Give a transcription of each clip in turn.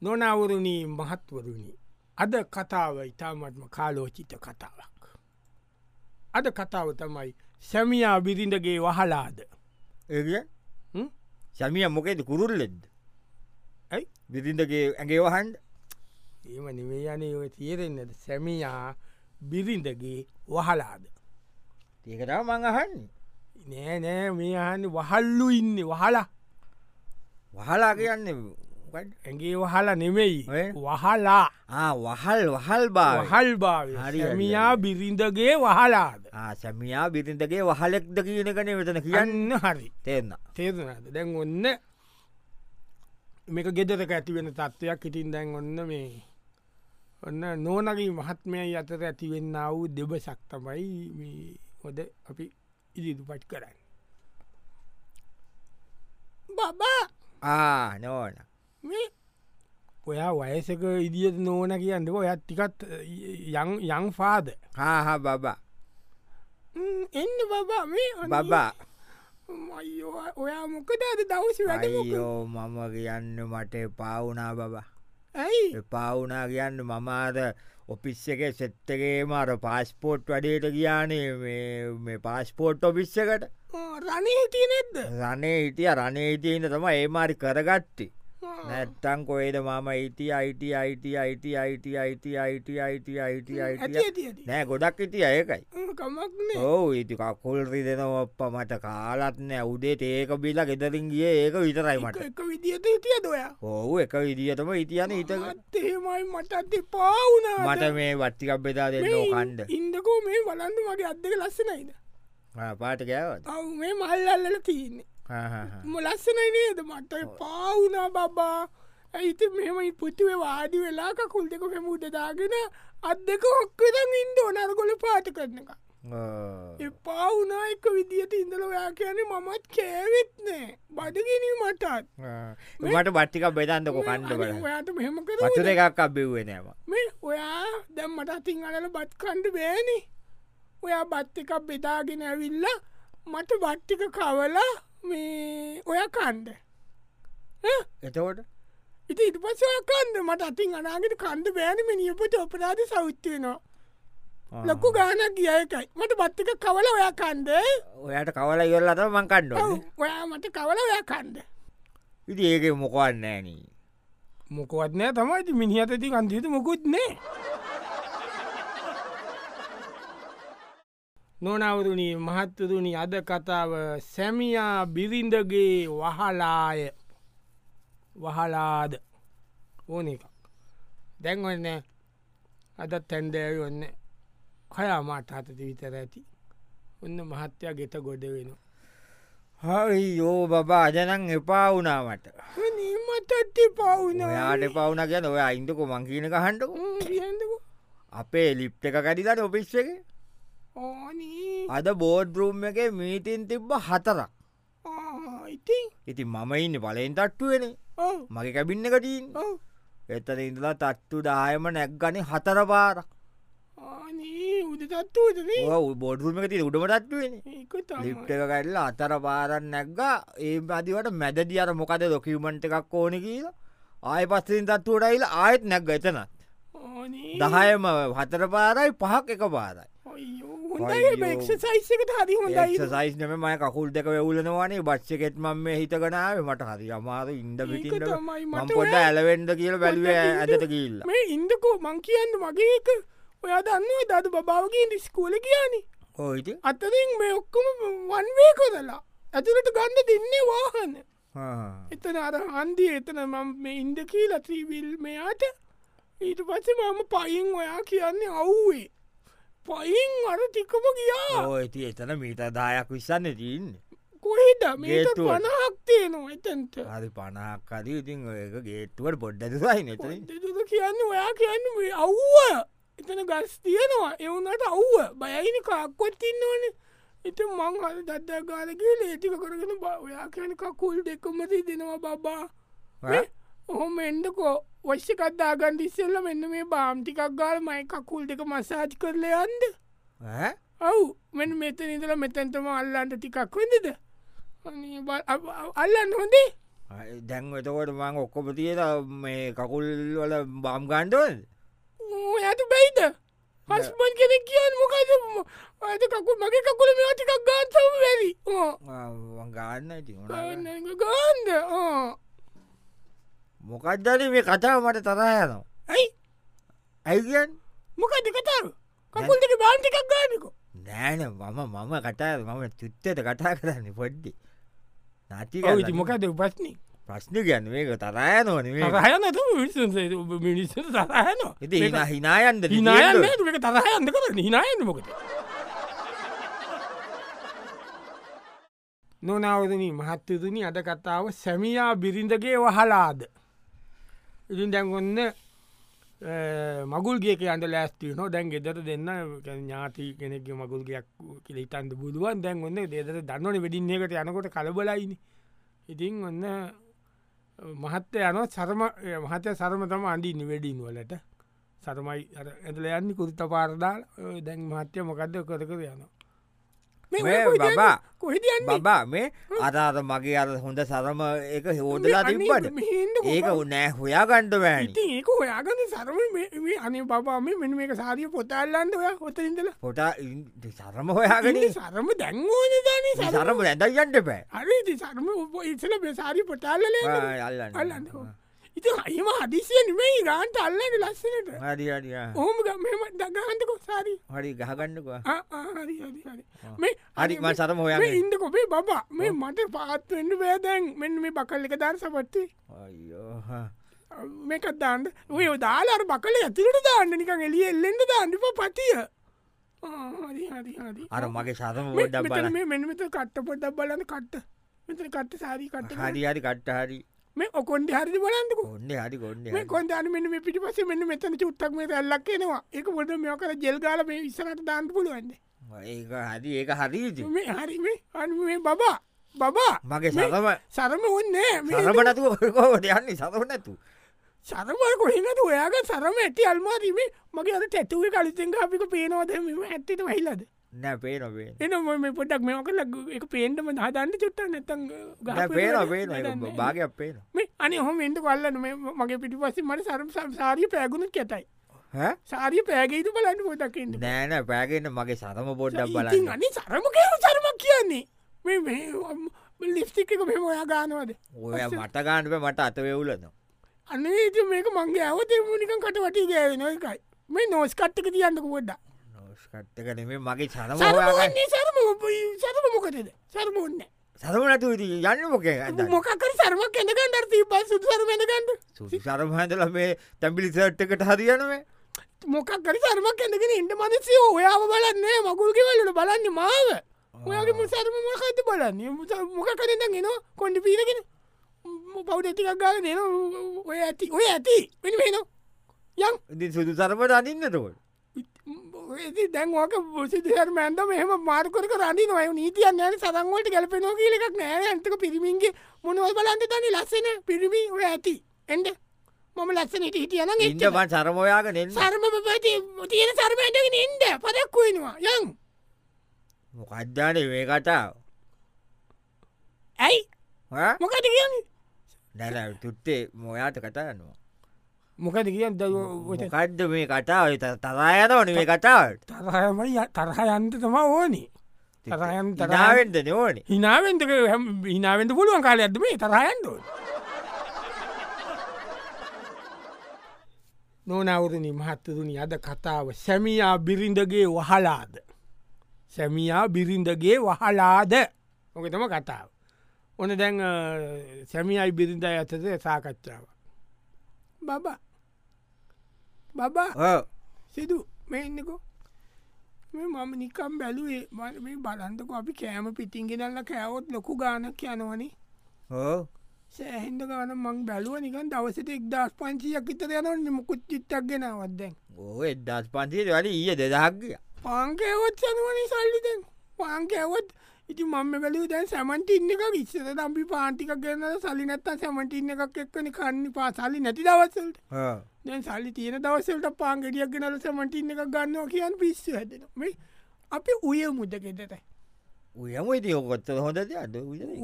නොනවරුණී මහත්වරුණි අද කතාව ඉතාමත්ම කාලෝචිත කතාවක්. අද කතාව තමයි සැමියා බිරිඳගේ වහලාද ඒ හ්ම්? සමිය මොකේද කුරුල්ලෙද්ද ඇයි? බිරිඳගේ ඇගේ වහන්ඩ ඒම නිවේ යන ඔය තේරෙන්න්නද සැමියා බිරිඳගේ වහලාද. ඒකටාව මං අහන්නේ නෑ නෑ මේ අහන්න වහල්ලු ඉන්න වහලා වහලා කියන්න මොකක්ද? ඇගේ වහලා නෙමෙයි ඔය? වහලා ආ, වහල් වහල් බා වහල් භාවය හරි, හරි, සැමියා හරි. බිරිඳගේ වහලාද සැමියා බිරිඳගේ වහලෙක්ද කියනකන වෙතන කියන්න යන්න හරි තේරන්න තේරනද දැන් ඔන්න මේක ගෙදරක ඇතිවෙන තත්ත්වයක් ඉටින් දැන් ඔන්න මේ ඔන්න නෝනගේ මහත්මය අතර ඇතිවෙන්න වූ දෙබසක් තමයි මේ හොද අපි ඉදිරිපට් කරන්න බබා ආ නෝන මේ ඔයා වයසක ඉදිියත් නෝන කියන්නක ඔයත් ටිකත් යං යං පාද හාහා බබා එන්න බබා මේ අනේ. බබා අයියෝ, ඔයා මොකද අද දවස වැඩ අයෝ මම කියන්න මට පාවුනා බබා ඇයි පාවුනා කියන්න මමාද ඔපිස් එක සෙත්තගේ මර පාස්පෝට් වඩේට ගියානේ මේ- මේ පාස්පෝට් ඔපිස්සකට රණය තිනෙද්ද රනේ හිටිය රනේ හිටියන්න තම ඒමාරි කරගත්ති නැත්තං කොේද මම යිති IT IT IT IT IT IT IT IT IT නෑ ගොඩක් හිටිය ඒකයි කමක්න ඔව ඉති කකුල් රිදෙන ඔප්ප මට කාලත් නෑ උදේ ඒක බිල ගෙදරින් ගිය ඒක විතරයි මට එක විදිහට හිටිය දොයා ඔහු එක විදිහතම ඉතියන හිත ඒමයි මට අති පාවුණා මට මේ වත්තිකක් බෙදා දෙන්න කණ්ඩ ඉන්දකෝ මේ වලන්ඩු මගේ අත්දක ලස්සනයිද පාට කෑවත් තව මේ මල් අල්ලල තියන්නේ ම ලස්සනයි නේද මට පාවුනා බබා ඇයිත මෙමයි පුතුවේ වාඩි වෙලාක කුල් දෙක පැමුට දාගෙන අත් දෙක ඔක්කදන් ඉන්ද ඕනර්ගොල පාට කරනක පාවුනා එක විදිහට ඉඳල ඔයා කියන්නේ මමත් කෑවෙත් නෑ බඩගෙන මටත් මට බට්ටිකක් බෙදන්නකො කණ්ඩ බල අනේ ඔයාට මෙහෙම කර පචර එකක් අබිව්වෙනෑම මේ ඔයා දැම් මට අතින් අලල බත්කණ්ඩ බෑනේ ඔයා බත් එකක් බෙදාගෙන ඇවිල්ල මට බට්ටික කවලා මේ ඔය කණ්ඩ ඈ? එතකොට ඉති ඉට පසවා කන්ද මට අතින් අනාගෙන කන්ද බෑනම නියපට ඔපරාධ සෞත්්‍යයනවා ලොකු ගානක් ගිය එකයි මට බත්තික කවල ඔයා කන්ද ඔයට කවල ඉවල්ලත මං කණ්ඩ ඔයා මට කවල ඔයා කන්ද ඉති ඒක මොකවන්නෑනී මොකවත් නෑ තමයි මිනිහත ති කන්දීත මොකුත් නෑ නොනවරුණී මහත්තතුනි අද කතාව සැමියා බිරිඳගේ වහලාය වහලාද ඕන එකක් දැන්වන්න අදත් තැන්දෑවි ඔන්න හයා මාට හතති විතර ඇති ඔන්න මහත්තයා ගෙත ගොඩ වෙන හරි යෝ බබා අජනන් එපා වුණාමට නීමතත්ති පවුන ඔයාට පවුන ගැන ඔය අයින්දකො මංකීනක හන්ඩකු කියන්නකෝ අපේ ලිප්ට එක කැඩිලට ඔපිස්ස එක ඕනී අද බෝඩ් රූම් එක මීතින් තිබ්බ හතරක් ඉති ඉති මම ඉන්න පලෙන් තට්ටුවෙන මගේ කැබින්න එකටීන් එතන ඉඳලා තට්ටු දායම නැක්ගනි හතර පාර ආනේ උද තත්වූදන බොඩරුම ති උඩම තට්ටුවෙන ඒක ලිප්ට එක කැල්ල අතර පාරන්න නැක්ග ඒ අදිවට මැදදි අර මොකද ඩොකිවමන්ට් එකක් ඕන කියලා ආය පස්සෙන් තත්තුවටයිල ආයෙත් නැක්ග එතනත් දහයම හතර පාරයි පහක් එක පාරයි අයියෝ. හොඳක්ෂ සයිස්සකට හරි හොඳයි සයිස් නම මය කකුල් දෙක වැවුලනවානේ බච්චකෙත් මම මේ හිතකනාව මට හරි අමාර ඉන්ඩ ඒක පිටිට තමයි මට මං පොඩ ඔය ඇලවෙන්ඩ කියල බැලුව පොඩ්ඩක් ඉන්න. ඇතට කියල්ල මේ ඉන්දකෝ මං කියන්න මගේක ඔයා දන්න දද බාවගේ ඉස්කෝල කියනි ඕයිති අතරින් මේ ඔක්කොම වන්වේ කොදලා ඇතුළට ගන්න දෙන්නේ වාහන එතන අර හන්දිය එතන මම මේ ඉන්ද කියලා ත්‍රීවිල් මෙයාට ඊට පස්සේ මම පයින් ඔයා කියන්නේ අව්වේ පයින් අර ටිකම ගියා ඕයිති එතන මීට දායක් විස්සන්න තියන්න කොහෙද මේට ගේට්ටුවට. පනහක්තියනවා එතන්ට හරි පණහක්කද ඉතින් ඒක ගේට්ටුවට පොඩ්ඩද සයි නත දෙදුද කියන්න ඔයා කියන්න මේ අව්ව එතන ගස් තියනවා එවුනට අව්ව බයයින කක්කොත් ඉන්න ඕන එත මං අර දද්දාගාලගේ ලේටික කරගෙන බ- ඔයා කියනක කුල් දෙකමති දෙනවා බබා ඔහොම එන්ඩකෝ වශ්‍ය කද්දාගන්ඩ ඉස්සල්ල මෙන්න මේ බාම්ටිකක් ගාල් මයි කකුල් දෙක මසාජ් කරල යන්ද ඔව් මෙන් මෙත නිදල මෙතැන්තම අල්ලන්ට ටිකක් වෙදද අල්ලන්න හොඳේ දැන් එතකොට මං ඔක්කොම තියල මේ කකුල් වල බම් ගණ්ඩුවද ඇතු බයිද හස්බන් කෙනෙක් කියන්න මොකද ඇත කකු මගේ කකුල මේ ටිකක් ගාන්තම වැරි ගාන්න ඉති ගාන්ද මොකක්දර මේ කතාව මට තරයනවා ඇයි ඇයිගන් මොකද කතර කකුල් දෙක බාන්ටිකක් ගානකෝ නෑන මම මම කටා මම චුත්තට කටා කරන්න පොඩ්ඩි නති ඇවිති මොකද උපස්න ප්‍රශ්න ගැන් මේක තරය නොනේ රහයන තු විනිස මිනිස්ස සරහන ඉති හිනායන්ද හිනායන්න එක තරහයන්ද කර හිනායන්න මොකද නොනවදනී මහත්තතුනි අද කතාව සැමියා බිරිඳගේ වහලාද ඉතින් දැන්ගොන්න මගුල්ගේක අන්ට ලෑස්තිී නො දැන් ගෙදර දෙන්න ඥාති කෙනෙක් මගුල්ගයක් කියල ඉතන්ද බුදුවන් දැන් ඔන්න දෙදර දන්නවන වැඩින්නේකට යනකොට කලබලයින ඉතින් ඔන්න මහත්ත යන සරම මහත සරම තම අන්ඩින්න වැඩින් වලට සරමයි ඇතල යන්න කුරිත පාරදාල් දැන් මහත්‍ය මොකක්ද කරකර යනවා මේ බබා කොහිද බබා මේ අදාර මගේ අර හොඳ සරම එක හෝදලා තිබට ඒක උනෑ හොයා ගණ්ඩ වැෑනි ඉතින් ඒක ඔයාගන්න සරම මේ- මේ අනේ බබා මේ මෙන මේක සාරිය පොතල්ලන්ද ඔයා හොත ඉඳල පොටා සරම හොයාගෙන සරම දැන්වෝන දන සරම සරම ඇඳයිගන්ට පෑ අරති සරම ඔබ ඉසල බෙසාරි පොටල්ලල අල්ලන්න අල්ලන්න ඉති අයිම අදිසිය නිමයි ගාන්ට අල්ලන්න ලස්සනට හරිිය ඕම ගමම දගහන්තකො සාරි හරි ගහගන්නකවා ආ, ආ, හරි, හරි, හරි. මේ හරි මන් සරම හොයා මේ ඉන්න කොපේ බබා මේ මට පාත්වෙන්ඩ බෑදැන් මෙන්න මේ බකල් එක දර් සපත්තේ මේකත් දාන්න ඔය දාලාර බකල ඇතිරට දාන්න නිකන් එලිය එල්ලෙන්ට දාන්නප පතිය අර මගේ සරම ොඩ බල හරි මෙමත කට්ට පොඩ්ඩක් බලන්න කට්ට මෙත කට්ට සාරී කට හරි හරි කට්ට හරි මේ ඔකොන්ඩ හරි බලන්නකෝ ඔන්න හරි ගොන්න මේ කොන්දන මෙ මේ පිටි පස මෙන්න මෙතන චුත්තක් මේ ඇල්ලක්කෙනවා එක පොඩ මෙ කර ජෙල්ගාල මේ විස්සරට දාන්න පුළුවන්ද ඒක හරි ඒක හරිද මේ හරි මේ අනු මේ බබා බබා මගේ මේ සරම සරම ඔන්නේ සරමනතු කෝට යන්නේ සරනැතු සරමල් කොහෙනද ඔයාගේ සරම ඇති අල්මාරීමේ මගේ අද තැතුවේ කලිතෙන් අපික පේනවාද මෙම ඇත්තට වහිලද නෑ පේ නොවේ එන ම මේ පොඩක් මේක එක පේන්ටම හදන්න චුට්ට නැතන් පේන පේ භාගයක් පේන මේ අනි හොම එට කල්ලන මේ මගේ පිටි පස්සේ මට සරම් සම්සාරී පෑගුණු කැතයි හැ සාරිය පෑගේතු බලන්න පොතක්කන්න නෑන පෑගෙන මගේ සරම පොඩ්ඩක් ඉතින් බලන්න අනි සරමක සරමක් කියන්නේ මේ මේ ලිස්්ටික් එක මෙම ඔයා ගානවද ඔය මට ගානප මට අතවවුලන අන්න ඒති මේක මංගේ ඇවතමනික කට වටි ගෑවෙන එකයි මේ නෝස් කට්ටක තියන්නක පොඩ්ඩා නොස්කට්ටකන මේ මගේ සරම හොයාගන්න. සරමන්නේ සරම සරම මොකදද සරම ඔන්න සරම නැතු යන්න මොක මොකකර සරම කෙනගන්නට තිබා සුදු සරම එනගන්න සුසි සරමහඳල මේ තැම්පිලි සට්කට හරියනවේ මොකක්කර සරම කෙනගෙන ඉට මනසිය ඔයාම බලන්නේ මගුල්ගේ වලට බලන්න මාව ඔයාගේ මුසරම මොකත බලන්න මොකකරන්න ගෙන කොන්ඩ පීරගෙන පෞද ඇතිකක් ගාල න ඔය ඇති ඔය ඇති වෙන වෙන යම් ඉතින් සුදු සරමට අනින්නතකොට ඇති දැන්වාක සිදර මෑන්ද මෙහම මාර්කරක රන්න නොය නීතියන් යන සදංවලට ගැලපෙනෝ කියලක් නෑ ඇතක පිරිමින්ගේ මොනවල් බලන්ත තනි ලස්සන පිරිමි ඔය ඇති එඩ මම ලස්සනට හිටියන එ ඉන්ටමන් සරමොයාග නෙන්න සර්ම පති තියෙන සර්මයටගෙන එන්ඩ පදක් වෙනවා යං මොකද්‍යාන මේ කතාව ඇයි මොකද කියන්නේ නැන තුත්තේ මොයාට කතාන්නවා මොකද කියන්න කඩ්ඩ මේ කතාව තරායනවන මේ කතාවට තරහමයි තරහ යන්ත තම ඕනි තරහයන් තරාවෙන් තරාවෙන්ද නෝනේ හිනාවෙන්ටක හිනාවෙන්ට පුළුවන් කාල ඇද මේ තරහයන්ට නොනවරණ මහත්තතුනි අද කතාව සැමියා බිරිඳගේ වහලාද සැමියා බිරිඳගේ වහලාද ඕක තම කතාව ඕන දැන් අ, සැමියයි බිරිඳයි ඇතද සාකච්ඡාව බබා බබා ඕ සිදු මෙන්නකෝ මේ මම නිකම් බැලුවේ මට මේ බලන්තක අපි කෑම පිටිගෙනල්ල කෑවොත් ලොකු ගානක් යනවනේ ඕ සෑහින්ද ගාන මං බැලුව නිකන් දවසට එක්දස් පංචියයක් ඉතර යනන්න මුකුත් චිත්තක් ගෙනවත්දැන් ඕ එදස් පන්තියට වැඩ ඊය දෙදහක්ගිය පාංකයවොත් සනුවනේ සල්ලිතෙන් පාංකයවොත් ඉති මම බැලූ දැන් සැමටින්න එක විස්සර දම්පි පාන්ටික ගන්න සලි නැත්තන් සැමටින්න එකක් එක්කන කන්න පා සල්ලි නැති දවස්සල්ට දැන් සල්ලි තියෙන දවසල්ට පාන්ගෙටියක් ගෙනල සමටින්න එක ගන්නවා කියන් පිස්සු ඇදෙන මේ අපි උය මුද ගෙදට උයම ඉති ඔකොත්තර හොඳ අද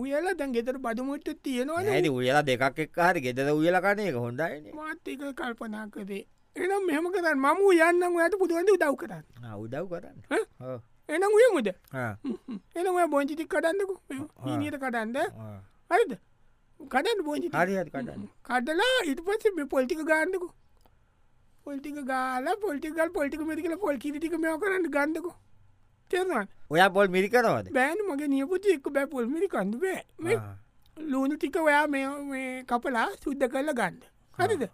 උයල දැන් ගෙතර බඩමුට තියෙනවන ඇති උයලා දෙකක් එක්කාහර ගෙතර උයලකනේ එක හොඳයින මාත්‍යක කල්පනා කරේ එනම් මෙහම කරන්න මම යන්නම් ඔයට පුදුුවන්ද උදව් කරන්න උදව් කරන්න ඈ? ඔව්. එනම් උයමුද ආ, එන ඔය බොංචිතික් කටන්නකු නීනයට කටන්ද ආ. හරිද කටන්න බොංචි හරි හරි කටන්න කටලා ඉට පස්ස පොල්ටික ගාන්නකු පොල්ටික ගාල පොල්ටිකල් පොල්ටික මරිකල පොල් කිරිටික මෙෝ කරන්න ගන්නකු තෙරවා ඔයා පොල් මිරි කරවද බෑන මගේ නියපුති එක් බෑ පොල්මිරි කඳු බෑ මේ ආ. ලූුණු ටික ඔයා මේ මේ කපලා සුද්ධ කරලා ගන්න හරිද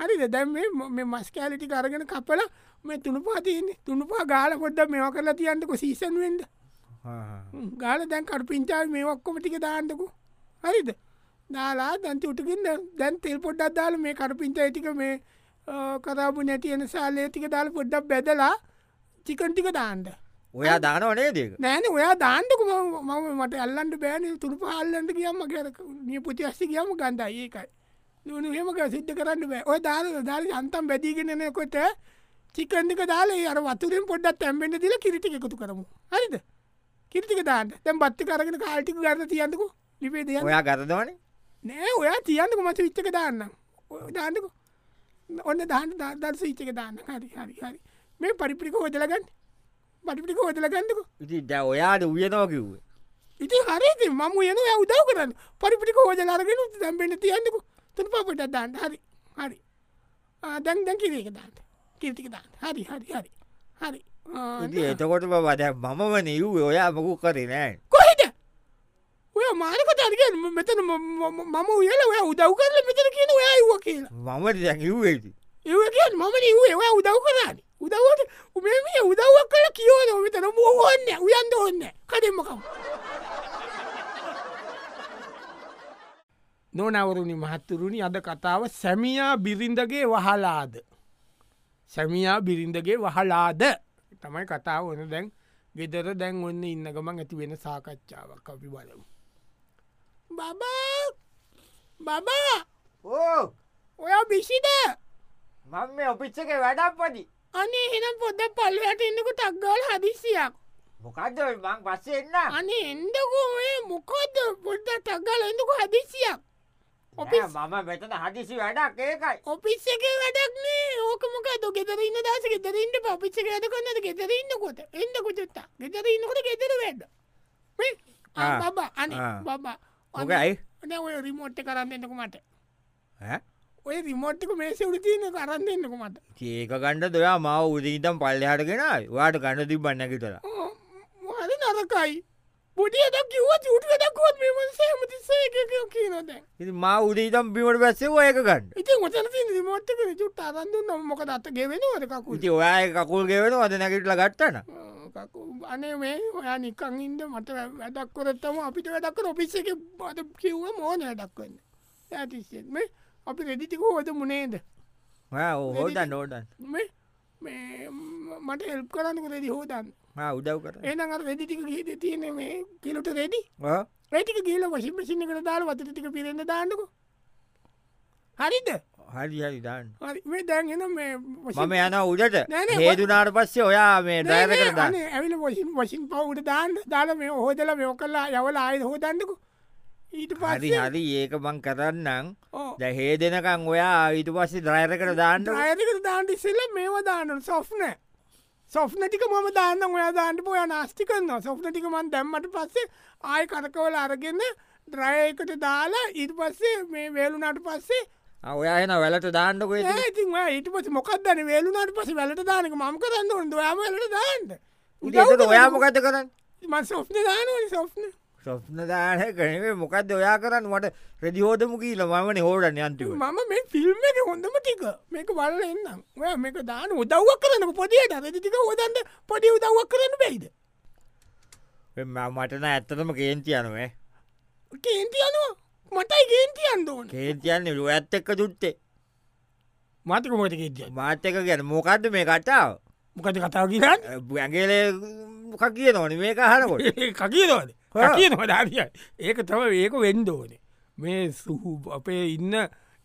හරිද දැම් මේ ම- මේ මස් කෑලටි අරගෙන කපල මේ තුනුපා තියන්නේ තුනුපා ගාල කොඩ්ඩ මෙවා කරලා තියන්නක සීසන් වෙන්ඩ ආ. ගාල දැන් කර පින්චාව මේ ඔක්කොම ටික දාන්නකු හරිද දාලා දැන්ති උටකින්න දැන් තෙල් පොඩ්ඩක් දාල මේ කර පින්චා ඇතික මේ කරාපු නැතියන සාලේ ටික දාල පොඩ්ඩක් බැදලා චිකන්ටික දාන්ද ඔයා දානවනේ දෙක නෑන ඔයා දාන්නක මම මට අල්ලන්ට බෑන තුරු පාල්ලන්ට කියම්ම කර නිය පුති අස්සි කියම ගන්ධ ඒකයි නනු හෙමක සිද්ධ කරන්න බෑ ඔය දාල දාල අන්තම් බැදීගෙනනකොට චිකන්ික දාලේ අර වතුරෙන් පොඩ්ඩත් තැම්බෙන්ට දිල කිරිටික එකතු කරමු හරිද කිරිටික දාන්න තැම් බත්ති කරගෙන කාල්ටික ගන්න තියන්නකු ලිපේ දෙය ඔයා ගතදවනේ නෑ ඔයා තියන්නක මච විච්චක දාන්න ඔය දාන්නක ඔන්න දාන්න දර්ස විච්චක දාන්න හරි හරි හරි මේ පරිපිරික හෝදලගන්න පරිපිරික හෝදලගන්නකු ඉති දැ ඔයාට වියනෝ කිව්වේ ඉති හරිද මම යන උදව කරන්න පරිපිටික හෝජලාරගෙන දැම්බෙන තියන්නක තුන් පපට දාන්න හරි හරි දැන් දැන් කිරක දාන්න කිරිතික දාන්න හරි හරි හරි හරි ඉති එතකොට බද මමව නිව් ඔයා මකු කරි නෑ කොහෙද ඔය මාරක තර්ගෙන් මෙතන ම- ම- ම- මම උයල ඔය උදව් කරල මෙතන කියන ඔයා ව කියලා මමට දැන් කිව්වේති ඒව කිය මම ව ඔයා උදව් කරන්න උදවට උමේ මේ උදව්වක් කල කියෝද මෙතන මෝහන්න උයන්ද ඔන්න කඩෙන්මකම් නොනවරුණි මහත්තුරුණි අද කතාව සැමියා බිරිඳගේ වහලාද. සැමියා බිරිඳගේ වහලාද තමයි කතාව ඕන දැන් ගෙදර දැන් ඔන්න ඉන්නගමන් ඇති වෙන සාකච්ඡාවක් අපි බලමු. බබා බබා ඕ ඔයා බිසිද මම මේ ඔපිච්චක වැඩක් පදි අනේ එහෙනම් පොද පල්ලට එන්නකු තක්ගාල හදිසියක් මොකක්ද මං පස්සේ එන්න අනේ එන්ඩකුේ මොකොද පොඩ්ඩ තක්ගල එඳකු හදිසියක් ඔපිස් මම මෙතන හදිසි වැඩක් ඒකයි ඔපිස් එක වැඩක්නේ ඕකමක ගෙදර ඉන්න දස ගෙදරන්න පපිච්ච ඇද කන්නද ගෙදර ඉන්නකොට එන්න කුචුත්තා ගෙදර ඉන්නකොට ගෙදර වැඩ ආ, බබා අනේ ආ. බබා මොකයි ඔන්න ඔය රිමෝට්ට කරන්න එන්නකු මට ඔය රිමෝට්ික මේස උරතියන කරන්න එන්නකු මට ඒක ගණ්ඩ දොයා මාව උදීතම් පල්ලහටගෙන වාට ගණඩ තිබන්නකිතර හරි නරකයි බොඩිය දක් කිව චුටක දක්ුවත් මෙමන්සේ මතිසේකක කියනොද මා උදීතම් බිමට පැස්සේ ඒක ගන්න ඉති මතන මෝට්ක චුට් අරන්දුන්න මොක දත්තගේ වෙනවද කකුට ඉති ඔයා ඒ කකුල් ගෙවෙන අද නැකිටල ගත්තන අනේ මේ ඔයා නිකං ඉන්ද මට වැඩක් කොරත්තම අපිට වැඩක්ක ඔපිස්ස එක බද කිව්ව මෝන වැඩක්වන්න ඇතිස්සෙන් මේ අපි රෙදිිතික හෝද මුණේද හෝට නෝටන් මේ මේ ම- මට එල්ප කරන්නක රෙදි හෝදන්න උදව් කර ඒනඟ රෙදිිටික ගීත තියෙන මේ කිලට රෙදි රැටික කියල වශිම සිිනකට දාල වතටික පිරෙන දාන්නක හරිද හරි හරි දාන්න හරි මේ දැන් එන මේ වශිම්- මම යන උඩට නෑ නෑ, හේදුනාට පස්සේ ඔයා මේ නෑ ඩෑර නෑ, කරදන්න අනේ, ඇවිල වශින් වශින් පවුට දාන්න දාල මේ හෝදල මෙෝ කල්ලා යවල අය හෝදන්නකු ඊට හරි පස්ස හරි ඒක මං කරන්නම් ද හේ දෙනකං ඔයා ඊට පස්සේ ද්‍රයිර කර දාන්න අයකට දාන්ට ඉස්සෙල්ල මේවා දාන්න සොෆ්න සොෆ්නටික මම දාන්න ඔයා දාන්නට ඔය නාස්ටිකන්න සොෆ්නටික මන් දැම්මට පස්සේ ආය කරකවල අරගන්න ද්‍රයකට දාලා ඊට පස්සේ මේ වේලුනට පස්සේ ඔයා එන වැලට දාන්නකො ඒ ඉතින් ඔයා ඊට පස මොකක්දන වේලුනාට පස වැලට දානක මම කරන්න ඔොන් දයාම වැලට දාන්න ඉට ඔයාමොකත කරන්න ම සොෆ්න දානනි සොෆ්න ස්වප්න දාන කරනේ මොකක්ද ඔයා කරන්න වට රෙදිහෝදම කියීල මමන හෝඩන් යන්තිව මම මේ ෆිල්ම් එක හොඳම ටික මේක වල්ල එන්නම් ඔය මේක දාන උදව්වක් කරනක පොදියට රදිතික හොදන්ද පොඩි උදව්වක් කරන්න බැයිද මටන ඇත්තටම කේන්ති යනුවේ කේන්තියනවා මටයි ගේන්තියන් දෝන කේන්තියන්න ලුව ඇත් එක්ක දුත්තේ මතක මොට ගේතිය මාතක ගැන මොකක්ද මේ කටාව මොකද කතාව කියන්න ඇගේලේ මොක කිය නොන මේ අහනකොට කකියනවද හා. කියනවා දාරිය ඒක තම ඒක වෙන්ඩෝන මේ සුහු අපේ ඉන්න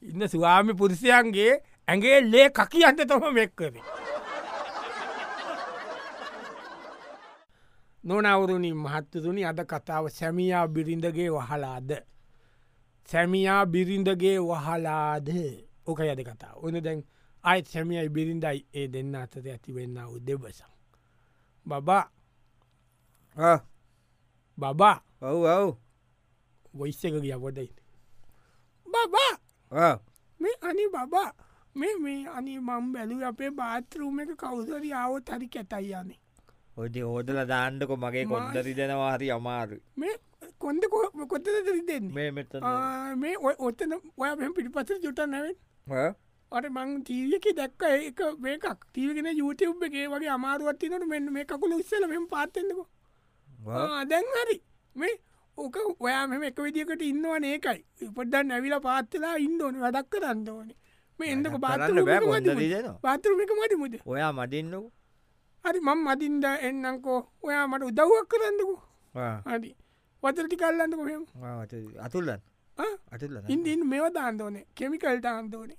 ඉන්න ස්වාමි පුරුෂයන්ගේ ඇගේ ලේ කකියන්ට තම මෙක්කද නොනවරුණින් මහත්තතුනි අද කතාව සැමියා බිරිඳගේ වහලාද. සැමියා බිරිඳගේ වහලාද ඕක යද කතා ඕන දැන් අයත් සැමියයි බිරිඳයි ඒ දෙන්න අතර ඇතිවෙන්න උ දෙබසම්. බබා බබා ඔව් ඔව් වොයිස්ස එක ගිය පොටයින්. බබා ඔව්. මේ අනි බබා මේ මේ අනි මං බැලු අපේ බාතරුම එක කවුදර යාවත් හරි කැතයි යන්නේ. ඔද හෝදල දාණ්ඩක මගේ මා- කොන්දරි දෙනවා හරි අමාරු මේ කොන්ද කොතද දෙන්නේ. මේ මෙත ආ, මේ ඔය ඔත්තන ඔය මෙ පිටිපස ජුට නැවෙන් අට මං තීවක දැක්ක ඒක මේකක් තීවගෙන යුතුබ් එකේ වගේ අමාරුවත්තිනට මෙ මේ කකුල උත්සල මෙම පාත්තෙන්කු දැන් හරි මේ ඕක ඔයා මෙම එක විදිකට ඉන්නවා නේකයි ඉපදන්න ඇවිල පාත්තලා ඉන්දෝන වැඩක් කරන්න ඕනේ මේ එන්නක වැඩක් කරන්න බෑ, කොන්ද පාත රිදෙනවා. පාතරමික මට මුද ඔයා මදින්නකු හරි මං මදින්ද එන්නංකෝ ඔයා මට උදව්වක් කරන්නකු හරි වතරටි කල්ලන්නක මෙම අතුල්ලන් ආ අටල්ල ඉන්දන් මේව දාන්දෝනේ කෙමිකල් දාන්දෝනේ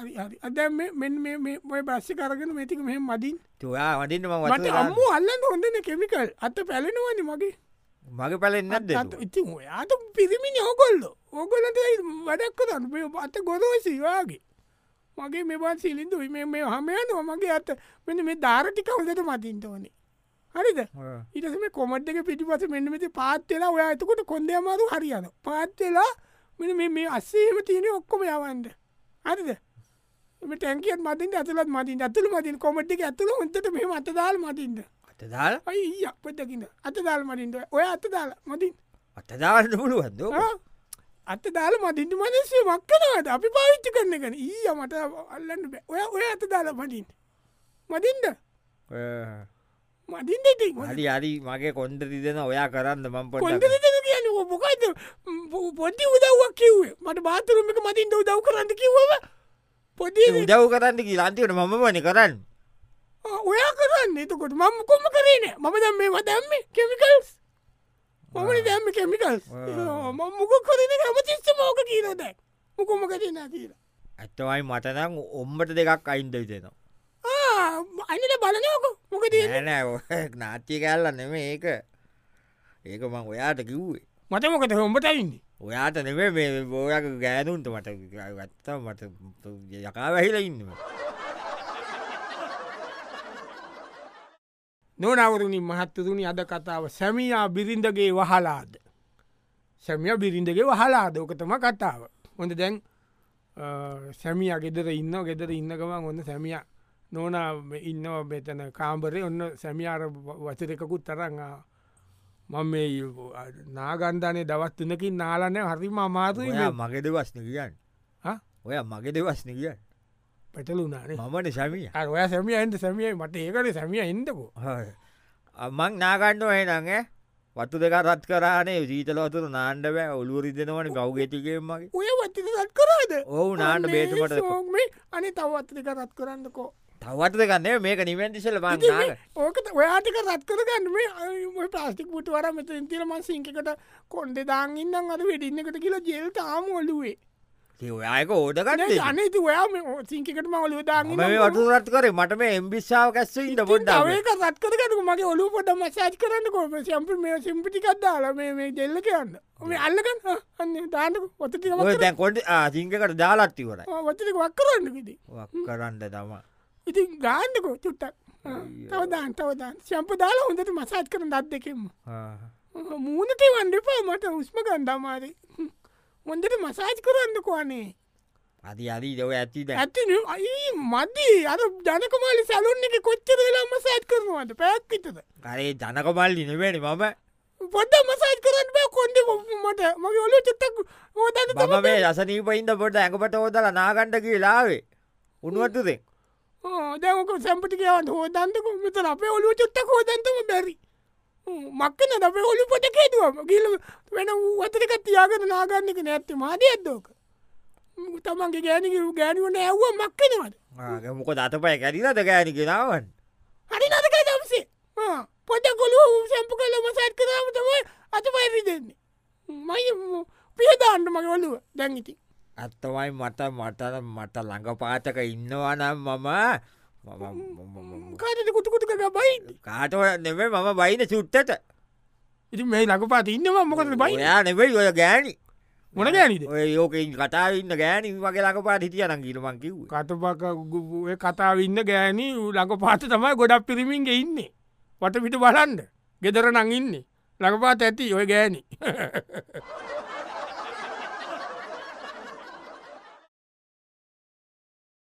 හරි හරි අද මෙ බස්සි කරගෙන මෙතික මෙ මදින් තුයා වඩින්න ම මට අම්ම අල්ලන්න හොඳන කෙමිකල් අත පැලෙනවනි මගේ මගේ පැලෙන්නත් අත ඉති යාත පිරිමිණ හොකොල්ල ඕකොලට වැඩක් කරන්න මේ අත ගොදෝසිවාගේ මගේ මෙබන් සිලින්දු මේ මේ හමයනවා මගේ අත මෙ මේ ධාරටික හොඳට මතින්ට ඕනේ හරිද ඉටස මේ කොමට් එක පිටිපස මෙන්නමති පාත්වෙලා ඔයා එතකොට කොන්ද අමාරු හරියන පාත්වෙලා මෙ මේ අස්සේම තියෙන ඔක්කොම යවන්ද හරිද එම ටැන්කියත් මතින් ඇතුලත් මතින් ඇතුළ මතින් කොමට් එක ඇතුළ උන්ට මේ අතදාල් මතින්ද අතදාල් අයි අපදකින්න අතදාල් මටින්ද ඔය අතදාල මතින් අතදාන්න පුළුවන්ද අත දාල මතින්ට මනසේ මක්කනවට අපි පාවිච්චි කරන කන ඊය මට අල්ලන්න බෑ. ඔය ඔය අත දාලා මටින් මතින්ද මතින්ද ඉතින් හොඳ. හරි අරි මගේ කොන්ද තිදෙන ඔයා කරන්න මම කොන්ද පොට කියන මොකයිද පොඩි උදව්වක් කිව්වේ මට බාතරමික මතින්ට උදව් කරන්න කිව්ව පොඩි උදව් කරන්න කිය ලන්තිවට මම වන කරන්න ඔයා කරන්න එතකොට මම කොම කරන මම දැම් මේ වදැම්ම කෙමිකල්ස් මමන දැම්ම කෙමිකල්ස් ආ. ම මොක කරන හම තිස්ස මෝක කියීනොද මොකොම කරන කියලා ඇත්තවයි මටනම් ඔම්බට දෙකක් අයින්ද විතෙනවා අනිට බලනයෝක මොක තියන නෑ නාතිය කැල්ල නෙම ඒක ඒක මං ඔයාට කිව්වේ මත මොකද හොම්බටයින්නේ ඔයාට නෙම මේ බෝයක ගෑනුන්ට මට ගත්තා මට යකා වැහිලා ඉන්නම නොනවරුණින් මහත්තතුනි අද කතාව සැමියා බිරිඳගේ වහලාද. සැමිය බිරිඳගේ වහලාද ඕකතම කතාව. හොඳ දැන් අ, සැමියා ගෙදර ඉන්න ගෙදර ඉන්නකම ඔොන්න සැමිය නොන ඉන්නවා බෙතන කාම්බරේ ඔන්න සැමියාර වචරකකුත් තරං ආ. මම මේ නාගන්ධනය දවස් තුනකින් නාලනය හරිම අමාතුයි ඔයා මගෙද වස්න කියන්න ආ? ඔය මගෙද වස්න කියන්න පැටලුනානේ මමන සැමිය අර ඔය සැමිය ඇන්ට සැමියයි මට ඒකට සැමිය එන්දකෝ මං නාගණ්ඩ හනඟ වත්තු දෙක රත් කරානේ ජීතලවතුර නාණ්ඩ බෑ ඔලුවරිදෙනවන ගෞ්ගෙතිකෙන් මගේ ඔය වචිත රත් කරාද ඔවු නාණ්ඩ බේතුමට මේ අනි තවත්ක රත් කරන්නකෝ තවත්ත දෙකන්නේ මේක නිවැන්තිශල බං ඉතින් නාග මේ ඕකත ඔයාටික රත් කරගන්න මේ අ- ප්ලාස්ටික් පුට වර මෙත ඉතිලම සිංකට කොන්ඩ දාන් ඉන්නම් අද වෙඩින්නකට කියලා ජෙල් තාම ඔලුවේ ඔයායක ඕඩගන්න අනති ඔයා සිංකටම ඔලුව දාන්න මේ වටු රත් කරේ මට මේ එම්බිස්සාාව කැස්සයිට පොඩ්ඩාව ඒක රත් කරකට මගේ ඔලු පොට මසාජ් කරන්න කොම සම්පි මේ සිම්පිටිකක්දාලා මේ මේ ජෙල්ල කියන්න මේ අල්ලකන්න අන්න දාන්න පොතටික ඔය දැන් කොට සිංකට දාලත්තිවරයි වචටික වක් කරන්න විදි කරන්න තම ඉතින් ගාන්නකෝ චුට්ටක් තවදාන් තවදාන් ශම්ප දාලා හොඳට මසාත් කරන දත් දෙකෙම මූනට වන්ඩපා මට උස්ම ගන්ඩමාරේ හොඳට මසාජ් කරන්න කොනේ අති අදී දව ඇති දැ ඇති අයි මදී අර ජනකමාලි සැලුන් එක කොච්චර වෙලා මසාජ් කරනවාට පැත්විතද කරේ ජනකමල් ඉනවෙන මම පොඩ මසාජ් කරන්න බෑ කොන්ද මට මගේ ඔලු චුත්තක් හෝදන්න මම මේ රසනීපයින්ද පොට ඇඟපට හෝදල නාගණ්ඩ කියලාවේ උනුවතුදේ දැක සැම්පටිකවන් හෝදන්තක මෙතර අපේ ඔලු චුත්තක් හෝදන්තම බැරි මක්කන අපේ ඔලු පොට කේතුවම ගිල වෙන වතරක තියාගෙන නාගන්නක නැත්ති මාද ඇත්දෝක තමන්ගේ ගෑනක ගෑනිවන ඇව්ව මක්කෙනවට මොක දත පය කැරිලද ගෑන කෙනාවන් හරි නදක දම්සේ පොට කොළු සැම්ප කල මසත් කරම තමයි අත පයිරි දෙන්නේ මයි පියදාන්න මගේ ඔලුව දැන්ගිති ඇත්තවයි මට මට මට ළඟ පාතක ඉන්නවනම් මම මම- මම- මම- කාටට කුටකුට එකක බයි කාටවට නෙවේ මම බයින චුට්ටට ඉති මේ ලකපා ඉන්නවා මොකද බයි ඔයා නෙවෙයි ඔය ගෑනි මොන ගෑනිද ඔය යෝකෙන් කතාවන්න ගෑනි වගේ ලකපාට හිටියන කිරමන් කිව් කතපක ගුපුුව කතාවන්න ගෑනී ලක පාත තමයි ගොඩක් පිරිමින්ගේ ඉන්නේ වට පිට බලන්ඩ ගෙදර නඟඉන්නේ ලකපාත ඇති ඔය ගෑනී